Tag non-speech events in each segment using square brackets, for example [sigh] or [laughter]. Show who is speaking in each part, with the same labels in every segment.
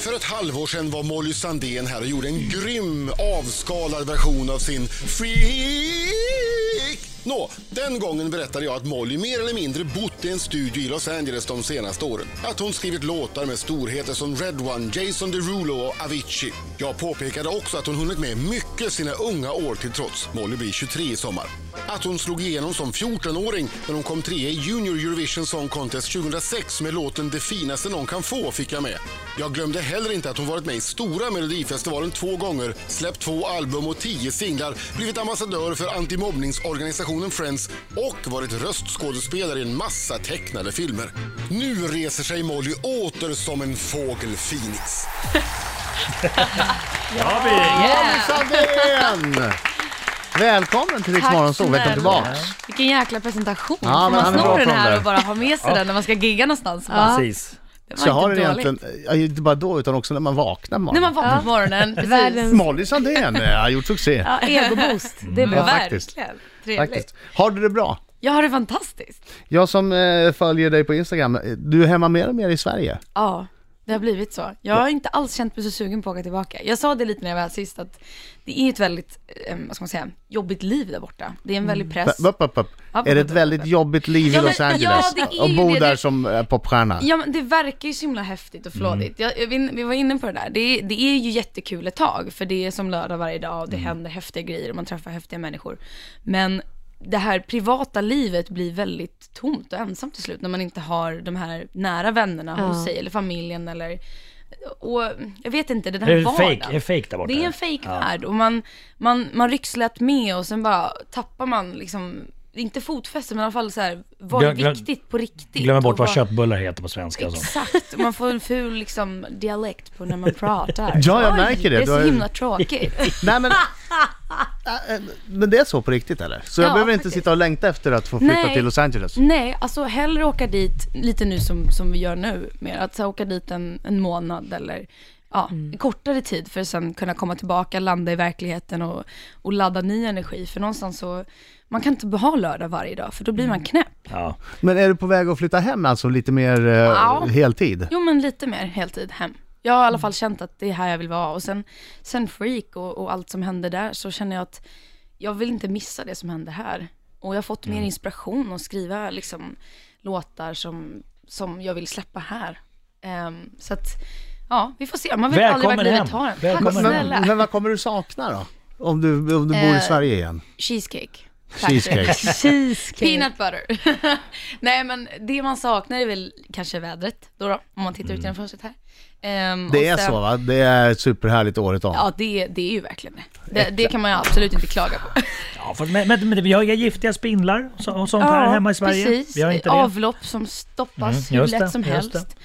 Speaker 1: För ett halvår sedan var Molly Sandén här och gjorde en grym avskalad version av sin Freak! Nå, den gången berättade jag att Molly mer eller mindre bott i en studio i Los Angeles de senaste åren. Att hon skrivit låtar med storheter som Red One, Jason Derulo och Avicii. Jag påpekade också att hon hunnit med mycket sina unga år till trots. Molly blir 23 i sommar. Att hon slog igenom som 14-åring när hon kom trea i Junior Eurovision Song Contest 2006 med låten Det finaste någon kan få fick jag med. Jag glömde heller inte att hon varit med i stora Melodifestivalen två gånger, släppt två album och tio singlar, blivit ambassadör för antimobbningsorganisationen Friends och varit röstskådespelare i en massa tecknade filmer. Nu reser sig Molly åter som en fågel Phoenix.
Speaker 2: Ja, vi.
Speaker 3: Molly Sandén! Välkommen till Rix Morgonzoo, välkommen tillbaks.
Speaker 4: Vilken jäkla presentation.
Speaker 3: Ja, men han
Speaker 4: man
Speaker 3: är bra
Speaker 4: snor den
Speaker 3: på de
Speaker 4: här
Speaker 3: där.
Speaker 4: och bara har med sig den när man ska gigga någonstans. Bara,
Speaker 2: Precis.
Speaker 4: det var
Speaker 3: Så jag har den
Speaker 4: inte dåligt.
Speaker 3: egentligen, ja, inte bara då utan också när man vaknar på
Speaker 4: När man
Speaker 3: morgonen.
Speaker 4: vaknar på morgonen. precis. [laughs]
Speaker 5: Världens
Speaker 3: Molly Sandén eh, har gjort succé.
Speaker 5: ja, egoboost. Det är
Speaker 3: Ja,
Speaker 5: bra.
Speaker 3: faktiskt.
Speaker 4: Verkligen. Trevligt.
Speaker 3: Faktiskt. Har du det bra?
Speaker 4: Jag har det fantastiskt.
Speaker 3: Jag som eh, följer dig på Instagram, eh, du är hemma mer och mer i Sverige.
Speaker 4: Ja, det har blivit så. Jag har inte alls känt mig så sugen på att åka tillbaka. Jag sa det lite när jag var här sist att det är ett väldigt, eh, vad ska man säga, jobbigt liv där borta. Det är en
Speaker 3: Mm.
Speaker 4: väldig press.
Speaker 3: Upp, upp, upp.
Speaker 4: Upp,
Speaker 3: Är det ett
Speaker 4: upp, upp,
Speaker 3: väldigt
Speaker 4: upp.
Speaker 3: jobbigt liv i
Speaker 4: Ja, men-
Speaker 3: Los Angeles?
Speaker 4: ja, det är
Speaker 3: och
Speaker 4: ju
Speaker 3: bo
Speaker 4: det.
Speaker 3: där
Speaker 4: Det-
Speaker 3: som eh, popstjärna?
Speaker 4: Ja, men det verkar ju så himla häftigt och
Speaker 2: Mm.
Speaker 4: flådigt. Jag, jag, vi- vi var inne på det där. Det, är- det är ju jättekul ett tag, för det är som lördag varje dag och det
Speaker 2: Mm.
Speaker 4: händer häftiga grejer och man träffar häftiga människor. Men det här privata livet blir väldigt tomt och ensamt till slut när man inte har de här nära vännerna hos sig eller familjen eller och jag vet inte, den här
Speaker 2: Det är
Speaker 4: vardagen.
Speaker 2: fake, det är fake där borta.
Speaker 4: Det är en fejkvärld och man, man, man rycks lätt med och sen bara tappar man liksom, inte fotfästet men i alla fall så här, vad är
Speaker 2: Glöm- glöm-
Speaker 4: viktigt på riktigt?
Speaker 2: Glömmer bort
Speaker 4: och
Speaker 2: vad köttbullar heter på svenska och så.
Speaker 3: alltså.
Speaker 4: Exakt, man får en ful liksom, dialekt på när man pratar.
Speaker 3: Ja, jag märker
Speaker 4: Det
Speaker 3: det.
Speaker 4: är
Speaker 3: Du
Speaker 4: så
Speaker 3: har-
Speaker 4: himla tråkigt. [laughs]
Speaker 3: Nej men, Äh, äh, men det är så på riktigt eller? Så jag
Speaker 4: Ja,
Speaker 3: behöver inte
Speaker 4: faktiskt.
Speaker 3: sitta och längta efter att få [laughs] flytta
Speaker 4: Nej.
Speaker 3: till Los Angeles?
Speaker 4: Nej, alltså hellre åka dit lite nu som, som vi gör nu, mer att så, här, åka dit en, en månad eller ja, kortare tid för att sen kunna komma tillbaka, landa i verkligheten och, och ladda ny energi. För någonstans så, man kan inte ha lördag varje dag för då blir
Speaker 3: Mm.
Speaker 4: man knäpp.
Speaker 2: Ja.
Speaker 3: Men är du på väg att flytta hem alltså lite mer eh,
Speaker 4: Ja.
Speaker 3: heltid?
Speaker 4: Jo men lite mer heltid hem. Jag har i
Speaker 3: Mm.
Speaker 4: alla fall känt att det är här jag vill vara och sen, sen Freak och, och allt som hände där så känner jag att jag vill inte missa det som hände här. Och jag har fått
Speaker 3: Mm.
Speaker 4: mer inspiration att skriva liksom, låtar som, som jag vill släppa här. Ehm, så att, ja, vi får se. Man vet
Speaker 2: Välkommen
Speaker 4: aldrig vart livet
Speaker 2: hem.
Speaker 4: tar en.
Speaker 2: Välkommen
Speaker 4: Tack
Speaker 2: hem.
Speaker 3: Men,
Speaker 4: snälla.
Speaker 3: men vad kommer du sakna då? Om du, om du bor i
Speaker 4: Eh,
Speaker 3: Sverige igen?
Speaker 4: Cheesecake. [laughs]
Speaker 3: Cheesecake.
Speaker 5: Cheesecake.
Speaker 4: Peanut butter. [laughs] Nej men det man saknar är väl kanske vädret då, då om man tittar ut genom fönstret här. Ehm, och
Speaker 3: Mm. Det är
Speaker 4: sen-
Speaker 3: så va? Det är superhärligt året om.
Speaker 4: Ja, det, det är ju verkligen det. det. Det kan man ju absolut inte klaga på.
Speaker 2: Ja, fast, men, men, men vi har inga giftiga spindlar och så- och sånt här hemma i Sverige.
Speaker 4: Precis.
Speaker 2: Vi har inte det.
Speaker 4: Avlopp som stoppas
Speaker 2: Mm,
Speaker 4: hur
Speaker 2: just
Speaker 4: lätt
Speaker 2: det,
Speaker 4: som
Speaker 2: just
Speaker 4: helst.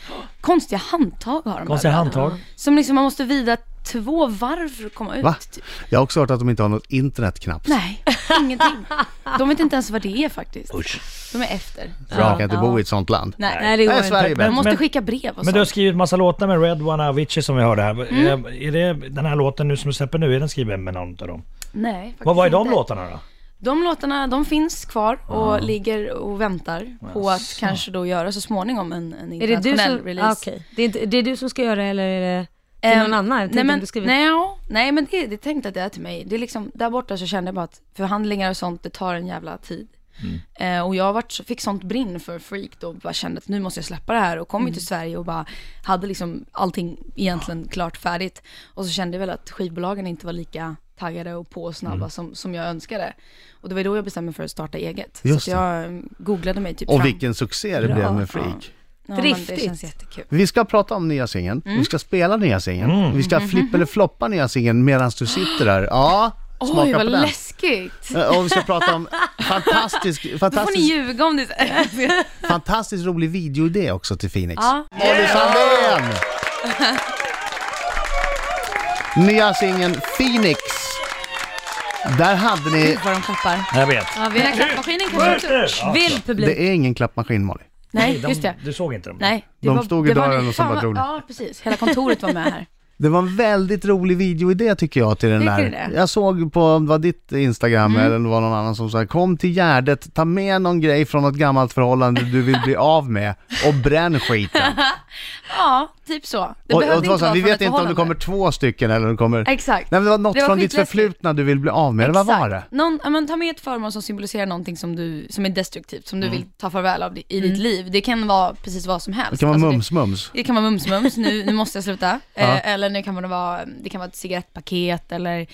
Speaker 4: Konstiga handtag har de
Speaker 2: Konstiga
Speaker 4: överallt.
Speaker 2: handtag.
Speaker 4: Som liksom man måste vida två varv för att komma ut.
Speaker 3: Va?
Speaker 4: typ.
Speaker 3: Jag har också hört att de inte har något internet knappt.
Speaker 4: Nej, ingenting. De vet inte ens vad det är faktiskt.
Speaker 2: Usch.
Speaker 4: De är efter.
Speaker 3: Så man kan inte bo i ett sånt land.
Speaker 4: Nej.
Speaker 5: Nej, det går
Speaker 3: Nej, Sverige
Speaker 5: inte.
Speaker 3: är
Speaker 4: De
Speaker 3: bättre.
Speaker 4: måste
Speaker 2: Men-
Speaker 4: skicka brev och Mm.
Speaker 2: Men du har
Speaker 4: sånt.
Speaker 2: skrivit massa låtar med Red One och Avicii som vi hörde här. Är, är det den här låten nu som du släpper nu, är den skriven med någon av dem?
Speaker 4: Nej, faktiskt
Speaker 2: Vad var är de
Speaker 4: inte.
Speaker 2: låtarna då?
Speaker 4: De låtarna, de finns kvar och ligger och väntar på att kanske då göra så småningom en, en
Speaker 5: Är det
Speaker 4: internationell
Speaker 5: du som,
Speaker 4: release.
Speaker 5: ah, okej. det, är inte, det är du som ska göra det eller är det till
Speaker 4: Ehm,
Speaker 5: någon annan? Jag tänkte
Speaker 4: nej,
Speaker 5: om
Speaker 4: men,
Speaker 5: du skriver-
Speaker 4: nej, ja, nej men det, det tänkte att det är till mig. Det är liksom, där borta så kände jag bara att förhandlingar och sånt, det tar en jävla tid.
Speaker 3: Mm.
Speaker 4: Eh, och jag vart, så- fick sånt brinn för freak då, bara kände att nu måste jag släppa det här och kom ju
Speaker 5: Mm.
Speaker 4: till Sverige och bara hade liksom allting egentligen klart färdigt. Och så kände jag väl att skivbolagen inte var lika taggade och på och snabba
Speaker 3: Mm.
Speaker 4: som, som jag önskade. Och det var då jag bestämde mig för att starta eget. så
Speaker 3: Just
Speaker 4: att jag eh, googlade mig typ
Speaker 3: Och
Speaker 4: fram.
Speaker 3: vilken succé det
Speaker 4: Bra.
Speaker 3: blev med Freak.
Speaker 4: ja, men det
Speaker 5: Driftigt.
Speaker 4: känns jättekul.
Speaker 3: Vi ska prata om nya singeln,
Speaker 4: Mm.
Speaker 3: vi ska spela nya singeln, vi
Speaker 4: Mm-hmm.
Speaker 3: ska flippa eller floppa nya singeln medan du sitter där. Ja, smaka
Speaker 4: Oj,
Speaker 3: på
Speaker 4: vad
Speaker 3: den.
Speaker 4: läskigt!
Speaker 3: Eh, Och vi ska
Speaker 4: [laughs]
Speaker 3: prata om fantastisk,
Speaker 4: Då får ni
Speaker 3: fantastisk,
Speaker 4: ljuga om det.
Speaker 3: fantastiskt rolig videoidé också till Phoenix.
Speaker 4: ja. [laughs]
Speaker 3: Molly Sandén! Nya singeln Phoenix. Där hade ni...
Speaker 4: vad de klappar.
Speaker 2: Jag vet.
Speaker 5: Ja, vi
Speaker 4: Den här klappmaskinen kanske också...
Speaker 2: Ja.
Speaker 5: Vill publik.
Speaker 3: Det är ingen klappmaskin Molly.
Speaker 4: Nej,
Speaker 2: De,
Speaker 4: just det.
Speaker 2: du såg inte dem?
Speaker 4: Nej, det
Speaker 3: De stod i
Speaker 4: det
Speaker 3: dörren och så
Speaker 4: fan
Speaker 3: bara
Speaker 4: vad-
Speaker 3: drog de. [laughs]
Speaker 4: Ja, precis. Hela kontoret var med här.
Speaker 3: Det var en väldigt rolig videoidé tycker jag till den
Speaker 4: Tycker du
Speaker 3: där.
Speaker 4: det? Mm.
Speaker 3: Jag såg på, om det var ditt Instagram eller om det var någon annan som sa kom till Gärdet, ta med någon grej från något gammalt förhållande du vill bli av med och
Speaker 4: [laughs]
Speaker 3: bränn skiten.
Speaker 4: Ja, typ så. Det
Speaker 3: och,
Speaker 4: behövde
Speaker 3: och det var så här,
Speaker 4: vara
Speaker 3: vi
Speaker 4: från ett
Speaker 3: vet inte om det kommer
Speaker 4: förhållande.
Speaker 3: två stycken eller om det kommer...
Speaker 4: Exakt.
Speaker 3: Nej men det var något
Speaker 4: Det var
Speaker 3: från ditt
Speaker 4: skitläskigt.
Speaker 3: förflutna du vill bli av med, eller vad var det?
Speaker 4: Exakt. Någon, ja, men ta med ett föremål som symboliserar någonting som, du, som är destruktivt, som du vill ta farväl av di- i ditt liv. Det kan vara precis vad som helst.
Speaker 3: Mm. Det kan vara
Speaker 4: Alltså,
Speaker 3: mums-mums.
Speaker 4: Det, det kan vara mums-mums, nu, nu måste jag sluta.
Speaker 3: [laughs] Ja.
Speaker 4: Eh, eller nu kan det, vara, det kan vara ett cigarettpaket eller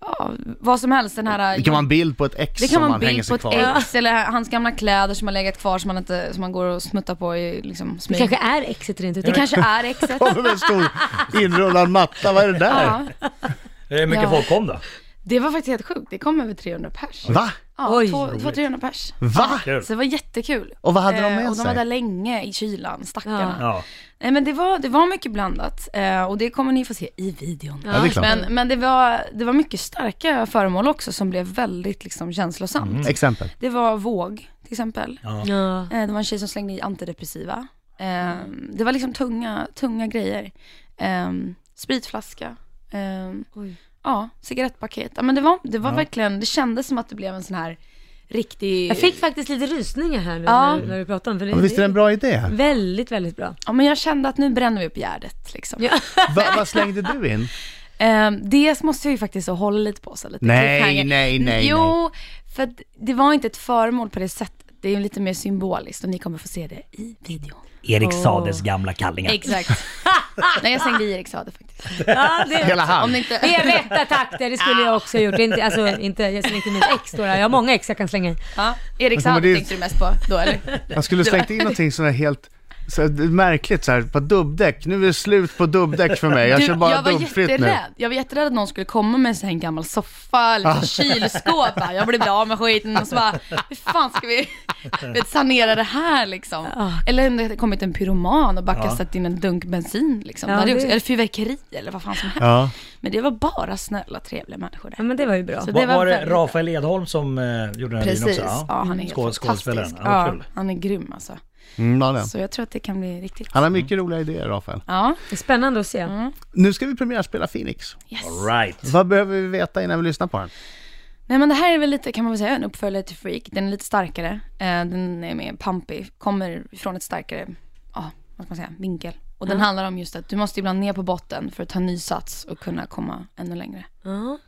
Speaker 4: ja, vad som helst. Den här,
Speaker 3: Det kan vara en bild på ett ex
Speaker 4: det
Speaker 3: som
Speaker 4: kan vara
Speaker 3: man
Speaker 4: en
Speaker 3: hänger
Speaker 4: bild på
Speaker 3: sig
Speaker 4: ett
Speaker 3: kvar [laughs]
Speaker 4: ex eller hans gamla kläder som har legat kvar som man, inte, som man går och smuttar på i liksom,
Speaker 5: Det
Speaker 4: smyg.
Speaker 5: kanske är exet rent ut.
Speaker 4: det kanske är exet.
Speaker 3: Kommer med en stor inrullad matta, vad är det där?
Speaker 4: ja.
Speaker 2: Eh, Hur mycket
Speaker 4: Ja.
Speaker 2: folk kom då?
Speaker 4: Det var faktiskt helt sjukt, det kom över 300 pers.
Speaker 3: Va?
Speaker 4: Ja,
Speaker 5: Oj.
Speaker 4: 200-300 pers.
Speaker 3: Va?
Speaker 2: Kul.
Speaker 4: Så det var jättekul.
Speaker 3: Och vad hade de
Speaker 4: Eh,
Speaker 3: med
Speaker 4: och de
Speaker 3: sig?
Speaker 4: var där länge i kylan, stackarna.
Speaker 2: Ja.
Speaker 4: Nej men det var, det var mycket blandat eh, och det kommer ni få se i videon.
Speaker 3: Ja, det är klart.
Speaker 4: Men, men det, var, det var mycket starka föremål också som blev väldigt liksom, känslosamt.
Speaker 3: Exempel.
Speaker 4: Det var våg till exempel.
Speaker 5: Ja.
Speaker 4: Eh, det var en tjej som slängde i antidepressiva. Eh, det var liksom tunga, tunga grejer. Eh, spritflaska. Eh,
Speaker 5: Oj.
Speaker 4: ja, cigarettpaket. Ja, men det var, det var verkligen, det kändes som att det blev en sån här riktig...
Speaker 5: Jag fick faktiskt lite rysningar här nu
Speaker 4: Ja.
Speaker 5: när, när du pratade om för det.
Speaker 3: Men visst är det en bra idé?
Speaker 4: [laughs]
Speaker 5: Väldigt, väldigt bra.
Speaker 4: Ja men jag kände att nu bränner vi upp gärdet liksom.
Speaker 5: Ja.
Speaker 3: Va, vad slängde du in?
Speaker 4: Eh, det måste jag ju faktiskt hålla lite på så här, lite
Speaker 3: Nej,
Speaker 4: cliffhanger.
Speaker 3: nej, nej,
Speaker 4: Jo, för att det var inte ett föremål på det sättet. Det är ju lite mer symboliskt och ni kommer få se det i videon.
Speaker 2: Erik Sades gamla kallingar.
Speaker 4: Exakt. nej jag slängde i Erik Saade faktiskt.
Speaker 5: [laughs] Ja, det,
Speaker 3: Hela
Speaker 4: alltså, Om
Speaker 3: hand?
Speaker 4: ni inte...
Speaker 5: det är rätta takter, det skulle jag också ha gjort. Det är Inte, alltså, inte, jag slänger inte mitt ex då. Jag har många ex jag kan slänga i.
Speaker 4: Ja, Erik
Speaker 3: Men
Speaker 4: Saade
Speaker 3: det är-
Speaker 4: tänkte du mest på då eller?
Speaker 3: Jag skulle slängt in någonting sådär helt så här, det är märkligt så här, på dubbdäck. Nu är det slut på dubbdäck för mig. Jag
Speaker 4: Du,
Speaker 3: kör bara
Speaker 4: jag var
Speaker 3: dubbfritt nu.
Speaker 4: jätterädd. Jag var jätterädd att någon skulle komma med en sån här gammal soffa eller ett kylskåp. Bara, Jag blir bli av med skiten och så bara, hur fan ska vi vet, sanera det här liksom? Eller om det hade kommit en pyroman och bara kastat in en dunk bensin liksom.
Speaker 5: Ja,
Speaker 4: det hade ju
Speaker 5: det-
Speaker 4: också, eller fyrverkeri eller vad fan som helst.
Speaker 3: Ja.
Speaker 4: Men det var bara snälla trevliga människor där.
Speaker 5: Ja, men det var ju bra.
Speaker 4: Så
Speaker 2: Var, var det
Speaker 4: väldigt bra.
Speaker 2: Rafael Edholm som eh, gjorde den här videon
Speaker 4: Precis,
Speaker 2: också?
Speaker 4: ja. han är helt
Speaker 2: Skå- skådespelaren.
Speaker 4: fantastisk.
Speaker 2: Ja,
Speaker 4: Ja,
Speaker 2: kul.
Speaker 4: han är grym alltså.
Speaker 3: Mm, ja, det.
Speaker 4: Så jag tror att det kan bli riktigt
Speaker 3: Han har mycket roliga idéer, Rafael.
Speaker 4: Ja,
Speaker 5: Det är Spännande att se.
Speaker 3: Nu ska vi premiärspela Phoenix.
Speaker 4: yes.
Speaker 2: All right.
Speaker 3: Vad behöver vi veta innan vi lyssnar på den?
Speaker 4: Nej men det här är väl lite, kan man väl säga, en uppföljare till Freak. Den är lite starkare, eh, den är mer pumpy, kommer från ett starkare, ja, vad ska man säga, vinkel. Och den handlar om just att du måste ibland ner på botten för att ta ny sats och kunna komma ännu längre.
Speaker 5: Ja.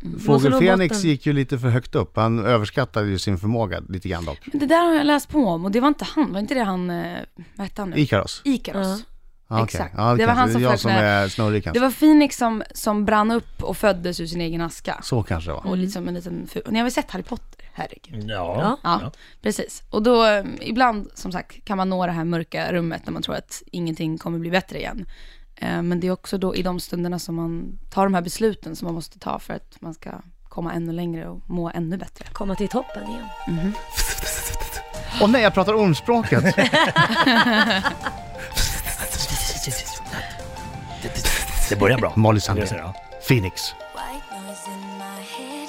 Speaker 5: måste nå
Speaker 3: Fågel Fenix
Speaker 5: botten.
Speaker 3: gick ju lite för högt upp. Han överskattade ju sin förmåga lite grann dock.
Speaker 4: Men det där har jag läst på om och det var inte han, var inte det han, eh, vad hette han nu?
Speaker 3: Ikaros.
Speaker 4: Ikaros.
Speaker 5: Ja.
Speaker 3: Ah, okej.
Speaker 4: Exakt.
Speaker 3: Ja,
Speaker 4: Det var
Speaker 3: kanske.
Speaker 4: han som
Speaker 3: är jag
Speaker 4: flög
Speaker 3: som
Speaker 4: med.
Speaker 3: är snurrig
Speaker 4: Det
Speaker 3: kanske.
Speaker 4: var Phoenix som, som brann upp och föddes ur sin egen aska.
Speaker 3: Så kanske det var.
Speaker 4: Och liksom en liten fu- och Ni har väl sett Harry Potter? Herregud.
Speaker 2: Ja.
Speaker 4: Ja, precis. Och då, eh, ibland som sagt kan man nå det här mörka rummet när man tror att ingenting kommer bli bättre igen. Eh, Men det är också då i de stunderna som man tar de här besluten som man måste ta för att man ska komma ännu längre och må ännu bättre.
Speaker 5: Komma till toppen igen.
Speaker 3: Åh nej, jag pratar
Speaker 4: [laughs]
Speaker 3: ormspråket.
Speaker 2: Det börjar bra.
Speaker 3: Molly
Speaker 2: Det
Speaker 3: Sandén.
Speaker 2: säger jag.
Speaker 3: Phoenix.
Speaker 6: White noise in my head,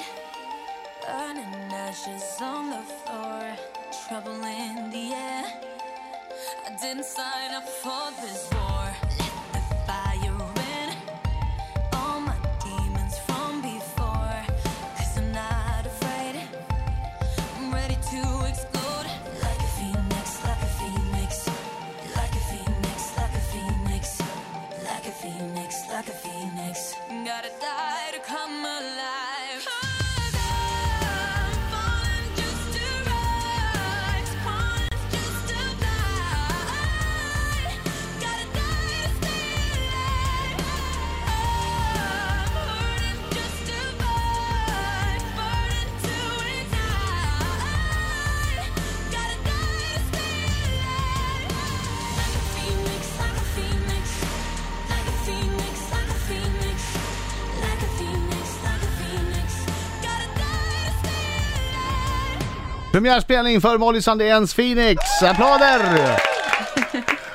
Speaker 6: burning ashes on the floor, trouble in the air. I didn't sign up for this war. Let the fire in, all my demons from before. Cause I'm not afraid, I'm ready to explode. Like a phoenix, like a phoenix, like a phoenix, like a phoenix, like a phoenix, like a phoenix. Gotta die to come alive. I'm falling just to rise, falling just to die. Gotta die to stay alive. I'm hurting just to fight, burning to ignite. Gotta die to stay alive. Like a phoenix, like a phoenix, like a phoenix, like a phoenix, like a phoenix, like a phoenix. Gotta die to stay alive.
Speaker 3: Premiärspelning för Molly Sandéns Phoenix.
Speaker 5: [laughs]
Speaker 3: Applåder!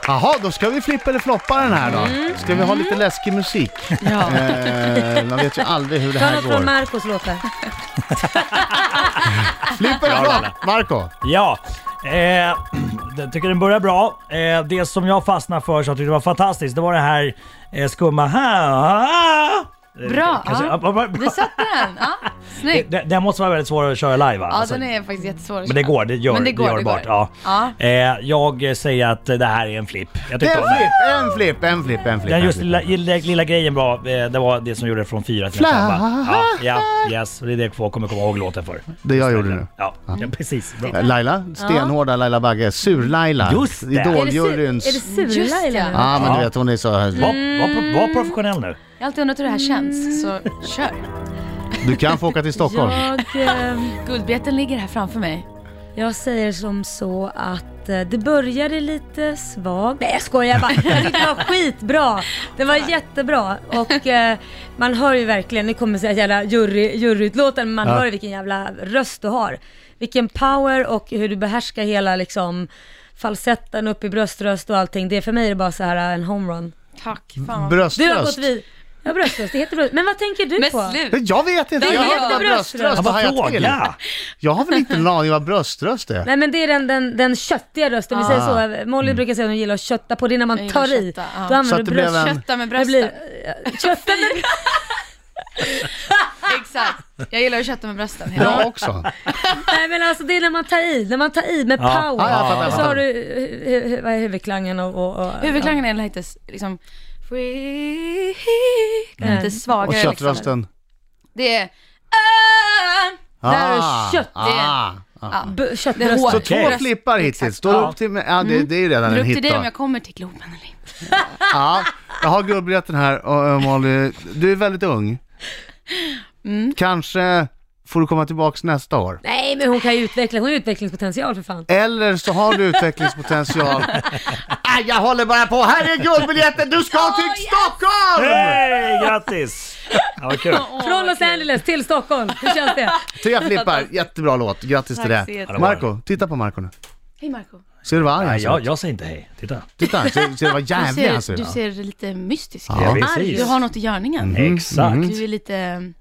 Speaker 3: Jaha, då ska vi flippa eller floppa den här
Speaker 5: Mm.
Speaker 3: då. Ska vi ha lite läskig musik?
Speaker 4: Ja.
Speaker 3: Eh, man vet ju aldrig hur det
Speaker 5: Ta
Speaker 3: här
Speaker 5: något från
Speaker 3: går.
Speaker 5: Marcos låtar.
Speaker 3: Flippa eller floppa? Marco?
Speaker 2: Ja, eh, [clears throat] Jag tycker den börjar bra. Eh, det som jag fastnade för så jag tyckte det var fantastiskt, det var det här eh, skumma... Eh,
Speaker 4: Bra!
Speaker 2: Kanske-
Speaker 4: ja.
Speaker 2: ja, bra.
Speaker 4: [laughs] Du satte den! Ja, snyggt!
Speaker 2: Den, den måste vara väldigt svår att köra live va?
Speaker 4: Ja,
Speaker 2: Alltså,
Speaker 4: den är faktiskt jättesvår att
Speaker 2: Men det
Speaker 4: köra.
Speaker 2: går, det gör,
Speaker 4: Men
Speaker 2: det
Speaker 4: går,
Speaker 2: det görbart.
Speaker 4: går.
Speaker 2: Ja. Eh, jag säger att det här är en flipp. Jag
Speaker 3: Det
Speaker 2: tyckte
Speaker 3: är
Speaker 2: om den.
Speaker 3: en flipp, en flipp, en flipp,
Speaker 2: Den
Speaker 3: en
Speaker 2: just
Speaker 3: flipp.
Speaker 2: lilla, lilla, lilla grejen var, eh, det var det som gjorde det från fyra till en femma. Ja, ja, yes. Och det är det jag kommer komma ihåg låten för.
Speaker 3: Det jag gjorde Mm. nu.
Speaker 2: Ja, ja precis. Bra.
Speaker 3: Laila, stenhårda Laila Bagge, sur-Laila.
Speaker 2: Just det.
Speaker 5: Är det
Speaker 3: Idoljuryns...
Speaker 5: Sula
Speaker 4: Just
Speaker 5: eller?
Speaker 4: det.
Speaker 3: Ja, men
Speaker 2: Ja. Mm.
Speaker 3: du vet hon är så...
Speaker 2: Var, var, pro- var professionell nu.
Speaker 4: Jag har alltid undrat hur det här känns, så kör!
Speaker 3: Du kan få åka till Stockholm.
Speaker 5: Jag, ehm,
Speaker 4: Guldbiljetten ligger här framför mig.
Speaker 5: jag säger som så att eh, det började lite svagt. Nej jag skojar bara. Jag tyckte det var skitbra. Det var jättebra. Och eh, man hör ju verkligen, nu kommer säga jävla jury, juryutlåtande, men man hör ju vilken jävla röst du har. Vilken power och hur du behärskar hela liksom falsetten upp i bröströst och allting. Det för mig är det bara så här eh, en homerun.
Speaker 4: Tack, fan vad
Speaker 5: Du har gått
Speaker 3: Bröströst.
Speaker 5: vid. Ja bröströst, det heter bröströst. Men vad tänker du
Speaker 4: Men
Speaker 5: på?
Speaker 4: slut!
Speaker 3: Jag vet inte,
Speaker 5: Det
Speaker 3: jag
Speaker 5: heter
Speaker 3: hörde
Speaker 5: bröströst.
Speaker 3: bröströst.
Speaker 2: Ja,
Speaker 3: Vad har
Speaker 2: vad
Speaker 3: jag till?
Speaker 2: fråga!
Speaker 3: Jag har väl
Speaker 4: [laughs]
Speaker 3: inte en aning vad bröströst är?
Speaker 5: Nej men det är den, den, den köttiga rösten, vi säger så. Molly brukar säga att hon gillar att kötta på, det är när man
Speaker 4: Ah. Mm. Jag
Speaker 5: tar
Speaker 4: gillar
Speaker 5: i.
Speaker 4: att kötta, ja.
Speaker 5: Då
Speaker 3: Så
Speaker 5: använder
Speaker 3: att det
Speaker 5: du
Speaker 3: blev
Speaker 5: bröst.
Speaker 3: en-
Speaker 4: Kötta med
Speaker 5: Det
Speaker 4: brösten.
Speaker 5: blir, [laughs]
Speaker 4: [laughs]
Speaker 5: kötta med
Speaker 4: Exakt. Jag gillar att kötta med brösten. [laughs]
Speaker 3: Jag också.
Speaker 5: Nej men alltså det är när man tar i, när man tar i med
Speaker 2: Ja.
Speaker 5: power.
Speaker 3: Ja, jag fattar,
Speaker 5: och så
Speaker 3: jag
Speaker 5: har du eh, hu- hu- vad är huvudklangen och... och, och
Speaker 4: Huvudklangen är lite s- liksom... free, Lite svagare.
Speaker 3: Och
Speaker 4: liksom.
Speaker 3: köttrösten.
Speaker 4: Det är... Ah,
Speaker 5: Där är kött.
Speaker 3: Ah, ah, ah.
Speaker 4: ja.
Speaker 5: B-
Speaker 4: Det är
Speaker 5: Köttröst.
Speaker 4: hårt.
Speaker 3: Så
Speaker 2: Okej.
Speaker 3: två flippar hittills. Står
Speaker 2: Ja.
Speaker 3: upp till mig. Ja, det, det är ju redan
Speaker 4: Det är
Speaker 3: en
Speaker 4: Mm. upp
Speaker 3: hit
Speaker 4: till dig
Speaker 3: då.
Speaker 4: om jag kommer till Globen eller inte.
Speaker 3: Ja, jag har guldbiljetten här och eh, Molly, du är väldigt ung.
Speaker 4: Mm.
Speaker 3: Kanske får du komma tillbaks nästa år.
Speaker 5: Nej men hon kan ju utveckla, hon har ju utvecklingspotential för fan.
Speaker 3: Eller så har du
Speaker 4: [laughs]
Speaker 3: utvecklingspotential. Aj, jag håller bara på. Här är guldbiljetten, du ska till Stockholm!
Speaker 2: Hej, grattis! Ja, vad kul.
Speaker 5: Från Los Angeles till Stockholm, hur
Speaker 4: [laughs]
Speaker 5: känns det?
Speaker 3: Tre flippar, jättebra låt. Grattis till
Speaker 4: Tack så
Speaker 3: det.
Speaker 4: jättemycket.
Speaker 3: Marco, titta på Marco nu.
Speaker 4: Hej Marco.
Speaker 3: Ser du vad arg han
Speaker 2: Nej,
Speaker 3: ser
Speaker 2: jag,
Speaker 3: ut?
Speaker 2: jag säger inte hej. Titta.
Speaker 3: Titta, ser, ser du vad
Speaker 4: Du
Speaker 3: jävlig han ser
Speaker 4: ser,
Speaker 3: ut?
Speaker 4: du ser lite mystisk ut.
Speaker 3: Ja.
Speaker 4: Du
Speaker 2: Precis.
Speaker 4: har något i görningen.
Speaker 3: Mm,
Speaker 2: Mm. Exakt.
Speaker 4: Du är lite mm.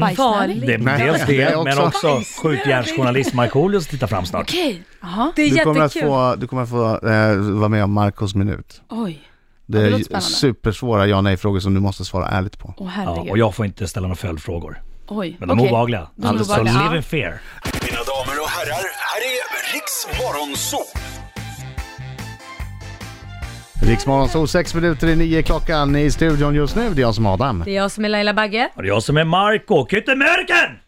Speaker 4: bajsnödig.
Speaker 5: Farlig.
Speaker 2: Det är
Speaker 3: Nej,
Speaker 2: dels
Speaker 3: det är
Speaker 2: det, men
Speaker 3: också-
Speaker 2: också skjutjärnsjournalist Markoolios tittar fram snart.
Speaker 4: Okej, jaha.
Speaker 5: Det är
Speaker 3: Du kommer att
Speaker 5: jättekul.
Speaker 3: få, du kommer att få eh, vara med om Marcos minut.
Speaker 4: Oj,
Speaker 3: Det
Speaker 4: Ja, det
Speaker 3: är
Speaker 4: låter
Speaker 3: ju
Speaker 4: spännande.
Speaker 3: supersvåra ja nej-frågor som du måste svara ärligt på.
Speaker 4: åh
Speaker 2: Ja,
Speaker 4: herregud.
Speaker 2: och jag får inte ställa några följdfrågor.
Speaker 4: Oj,
Speaker 2: Men de är
Speaker 4: okej.
Speaker 2: obehagliga.
Speaker 4: De är
Speaker 2: Så
Speaker 4: obehagliga.
Speaker 2: live
Speaker 4: Ja.
Speaker 2: in fear.
Speaker 7: Mina damer och herrar, här är Riks Morgonzoo!
Speaker 3: Riksmorgon, så sex minuter i nio klockan i studion just nu. Det är jag som är Adam.
Speaker 5: Det är jag som är Laila Bagge.
Speaker 2: Och det är jag som är Marco Kyttemörken!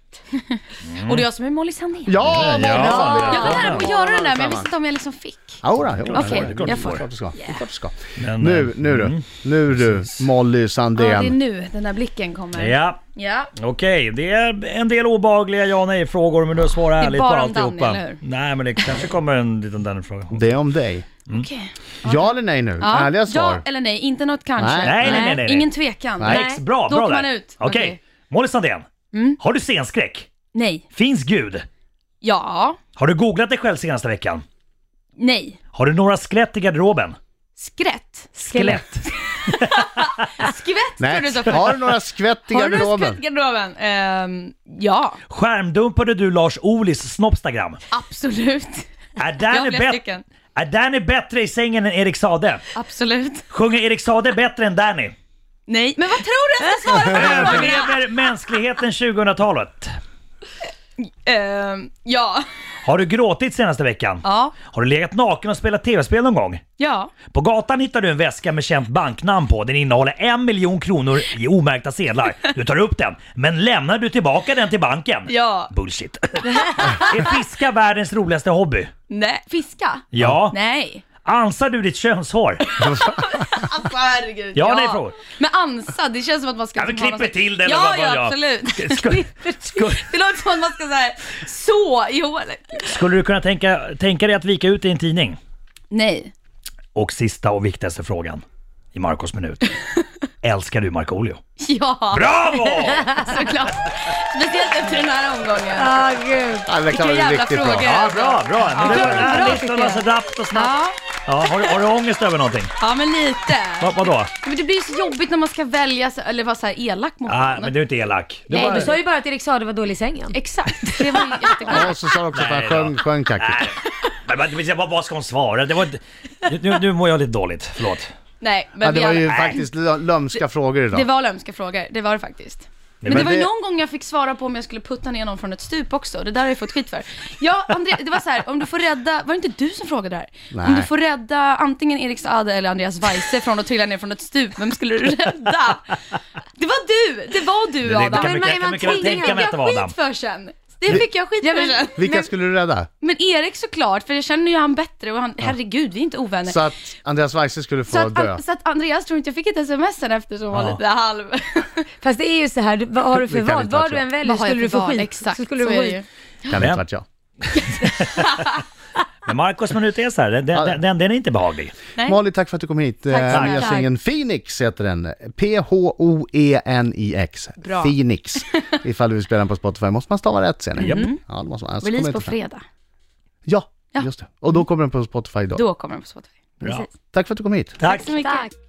Speaker 4: Och det är jag som är Molly Sandén.
Speaker 3: Ja,
Speaker 2: Ja.
Speaker 3: Måns!
Speaker 4: Jag var nära på att göra den där men jag
Speaker 3: Samma.
Speaker 4: visste inte om jag liksom fick.
Speaker 3: Jodå, jodå.
Speaker 4: Okej,
Speaker 3: det är klart
Speaker 4: jag
Speaker 3: du
Speaker 4: får.
Speaker 3: Det är klart du ska. Det är klart du ska.
Speaker 2: Men,
Speaker 3: Nu,
Speaker 2: eh,
Speaker 3: nu du. Nu du, Molly
Speaker 4: Ja, det är
Speaker 3: Sandén.
Speaker 4: nu den där blicken kommer.
Speaker 2: Ja,
Speaker 4: Ja.
Speaker 2: okej. Det är en del obehagliga ja nej-frågor men du svarar
Speaker 4: är
Speaker 2: ärligt på
Speaker 4: bara om Danny,
Speaker 2: alltihopa.
Speaker 4: eller hur?
Speaker 2: Nej, men det kanske kommer en liten Danny-fråga.
Speaker 3: Det är om dig.
Speaker 2: Mm.
Speaker 4: Okej.
Speaker 3: Ja eller nej nu?
Speaker 4: Ja.
Speaker 3: Ärliga svar.
Speaker 4: Ja eller nej, inte något kanske.
Speaker 3: Nej.
Speaker 2: Nej, nej, nej, nej.
Speaker 4: Ingen tvekan.
Speaker 3: Nej.
Speaker 2: Ex, bra,
Speaker 4: Då
Speaker 2: bra
Speaker 4: åker man
Speaker 2: där.
Speaker 4: ut.
Speaker 2: Okej.
Speaker 4: Okej. Mm.
Speaker 2: Molly Sandén, har du scenskräck?
Speaker 4: Nej.
Speaker 2: Finns Gud?
Speaker 4: Ja.
Speaker 2: Har du googlat dig själv senaste veckan?
Speaker 4: Nej.
Speaker 2: Har du några skelett i garderoben?
Speaker 4: Skrätt.
Speaker 2: Skelett.
Speaker 4: Skvätt tror du
Speaker 3: Nej,
Speaker 4: så för.
Speaker 3: har du några skvätt i
Speaker 4: Har du några skvätt i
Speaker 3: garderoben?
Speaker 4: garderoben? Ehm, ja,
Speaker 2: Skärmdumpade du Lars Olis Snopstagram?
Speaker 4: absolut.
Speaker 2: [laughs] Är
Speaker 4: Jag har
Speaker 2: Danny,
Speaker 4: flera
Speaker 2: bet-
Speaker 4: stycken.
Speaker 2: är Danny bättre i sängen än Erik Sade?
Speaker 4: Absolut.
Speaker 2: Sjunger Erik Sade bättre än Danny?
Speaker 4: Nej. Men vad tror du jag ska svara på [laughs] den här frågan?
Speaker 2: Överlever mänskligheten 2000-talet?
Speaker 4: Ehm, ja.
Speaker 2: Har du gråtit senaste veckan?
Speaker 4: Ja.
Speaker 2: Har du legat naken och spelat tv-spel någon gång?
Speaker 4: Ja.
Speaker 2: På gatan hittar du en väska med känt banknamn på. Den innehåller en miljon kronor i omärkta sedlar. Du tar upp den, men lämnar du tillbaka den till banken?
Speaker 4: Ja.
Speaker 2: Bullshit. Är fiska världens roligaste hobby?
Speaker 4: Nej. Fiska?
Speaker 2: Ja.
Speaker 4: Nej.
Speaker 2: Ansar du ditt könshår?
Speaker 4: Alltså herregud.
Speaker 2: Ja, nej, frågor.
Speaker 4: Men ansa, det känns som att man ska...
Speaker 2: Ja, men
Speaker 4: ha någon
Speaker 2: klipper
Speaker 4: slags-
Speaker 2: till den eller
Speaker 4: Ja,
Speaker 2: vad man
Speaker 4: ja
Speaker 2: gör. [laughs]
Speaker 4: absolut.
Speaker 2: Skulle, skulle,
Speaker 4: Det låter som att man ska så här, så i hålet.
Speaker 2: skulle du kunna tänka, tänka dig att vika ut i en tidning?
Speaker 4: Nej.
Speaker 2: Och sista och viktigaste frågan i Marcos minut. Älskar du Markoolio?
Speaker 4: Ja,
Speaker 2: Bravo!
Speaker 4: såklart. Speciellt efter den här omgången.
Speaker 5: Ah, gud.
Speaker 3: Ja, det kan
Speaker 4: Vilka
Speaker 3: vara
Speaker 4: jävla
Speaker 3: riktigt bra.
Speaker 4: frågor.
Speaker 2: Ja, bra, bra. Men det var den
Speaker 5: bra,
Speaker 2: här listan
Speaker 5: tycker
Speaker 2: var
Speaker 5: jag.
Speaker 2: så rappt och snabbt.
Speaker 4: Ja.
Speaker 2: Ja. Ja, har, du- har du ångest över någonting?
Speaker 4: Ja men lite.
Speaker 2: Va, vadå?
Speaker 4: Men det blir ju så jobbigt när man ska välja, så- eller vara så här elak mot
Speaker 2: Nej,
Speaker 4: någon.
Speaker 2: men du är inte elak. Du
Speaker 5: Nej,
Speaker 2: bara-
Speaker 5: du sa ju bara att Erik Saade var dålig i sängen.
Speaker 4: Exakt, det var ju jättekonstigt.
Speaker 3: Ja, och så sa du också att han
Speaker 2: Nej
Speaker 3: sjöng,
Speaker 2: då.
Speaker 3: sjöng kackigt.
Speaker 2: Nej. Men, men, men, vad, vad ska hon svara? Det var, inte- nu, nu mår jag lite dåligt, förlåt.
Speaker 4: Nej men
Speaker 3: Ja, det
Speaker 4: vi
Speaker 3: var
Speaker 4: alla-
Speaker 3: ju
Speaker 4: Nej.
Speaker 3: faktiskt lö- lömska frågor idag.
Speaker 4: Det var lömska frågor, det var det faktiskt. Men,
Speaker 3: men
Speaker 4: det var ju
Speaker 3: det-
Speaker 4: någon gång jag fick svara på om jag skulle putta ner någon från ett stup också. Det där har jag fått skit för. Ja, André, det var så här, om du får rädda, var det inte du som frågade det här? Om
Speaker 3: Nej.
Speaker 4: du får rädda antingen Erik Saade eller Andreas Weise från att trilla ner från ett stup, vem skulle du rädda? Det var du, det var du
Speaker 2: Det, det, det
Speaker 4: Adam.
Speaker 2: kan
Speaker 5: men
Speaker 2: mycket, jag
Speaker 5: man
Speaker 2: kan mycket väl
Speaker 5: tänker-
Speaker 2: tänka mig att det var Adam.
Speaker 4: skit för sen. Det fick jag skit för sen.
Speaker 3: Vilka skulle du rädda?
Speaker 4: Men Erik såklart, för jag känner ju han bättre och han, herregud, vi är inte ovänner.
Speaker 3: Så att Andreas Weise skulle få
Speaker 4: Så att,
Speaker 3: dö.
Speaker 4: an, så att Andreas tror inte jag fick ett sms sen efter som var
Speaker 2: Ja.
Speaker 4: lite halv.
Speaker 5: Fast det är ju så här, du- vad har du för
Speaker 3: Det kan
Speaker 5: val?
Speaker 3: inte vara
Speaker 5: Vad du
Speaker 3: så.
Speaker 5: än väljer
Speaker 4: Vad har jag
Speaker 5: skulle du
Speaker 4: för
Speaker 5: få
Speaker 4: val?
Speaker 5: skit.
Speaker 4: Exakt,
Speaker 5: så skulle
Speaker 4: så
Speaker 5: du
Speaker 4: är
Speaker 5: få
Speaker 4: det
Speaker 5: skit.
Speaker 4: ju.
Speaker 3: Kan
Speaker 2: Men-
Speaker 3: inte varit jag.
Speaker 2: Men Marcos minut är så här, den,
Speaker 3: Ja.
Speaker 2: den, den, den är inte behaglig.
Speaker 4: Nej.
Speaker 3: Molly, tack för att du kom hit. Eh,
Speaker 4: snälla.
Speaker 3: Nya singeln Phoenix heter den. E P-H-O-E-N-I-X.
Speaker 4: Bra. [laughs]
Speaker 3: Phoenix. Ifall du vill spela den på Spotify måste man stava rätt sen.
Speaker 2: Japp.
Speaker 3: Ja, det måste man. Annars kommer
Speaker 4: Mm. Release
Speaker 3: inte
Speaker 4: på
Speaker 3: fram.
Speaker 4: fredag.
Speaker 3: Ja,
Speaker 4: Ja.
Speaker 3: just det. Och då kommer den på Spotify då.
Speaker 4: Då kommer den på Spotify.
Speaker 2: Bra.
Speaker 4: Precis.
Speaker 3: Tack för att du kom hit.
Speaker 4: Tack
Speaker 2: Tack.
Speaker 4: så mycket.
Speaker 5: Tack.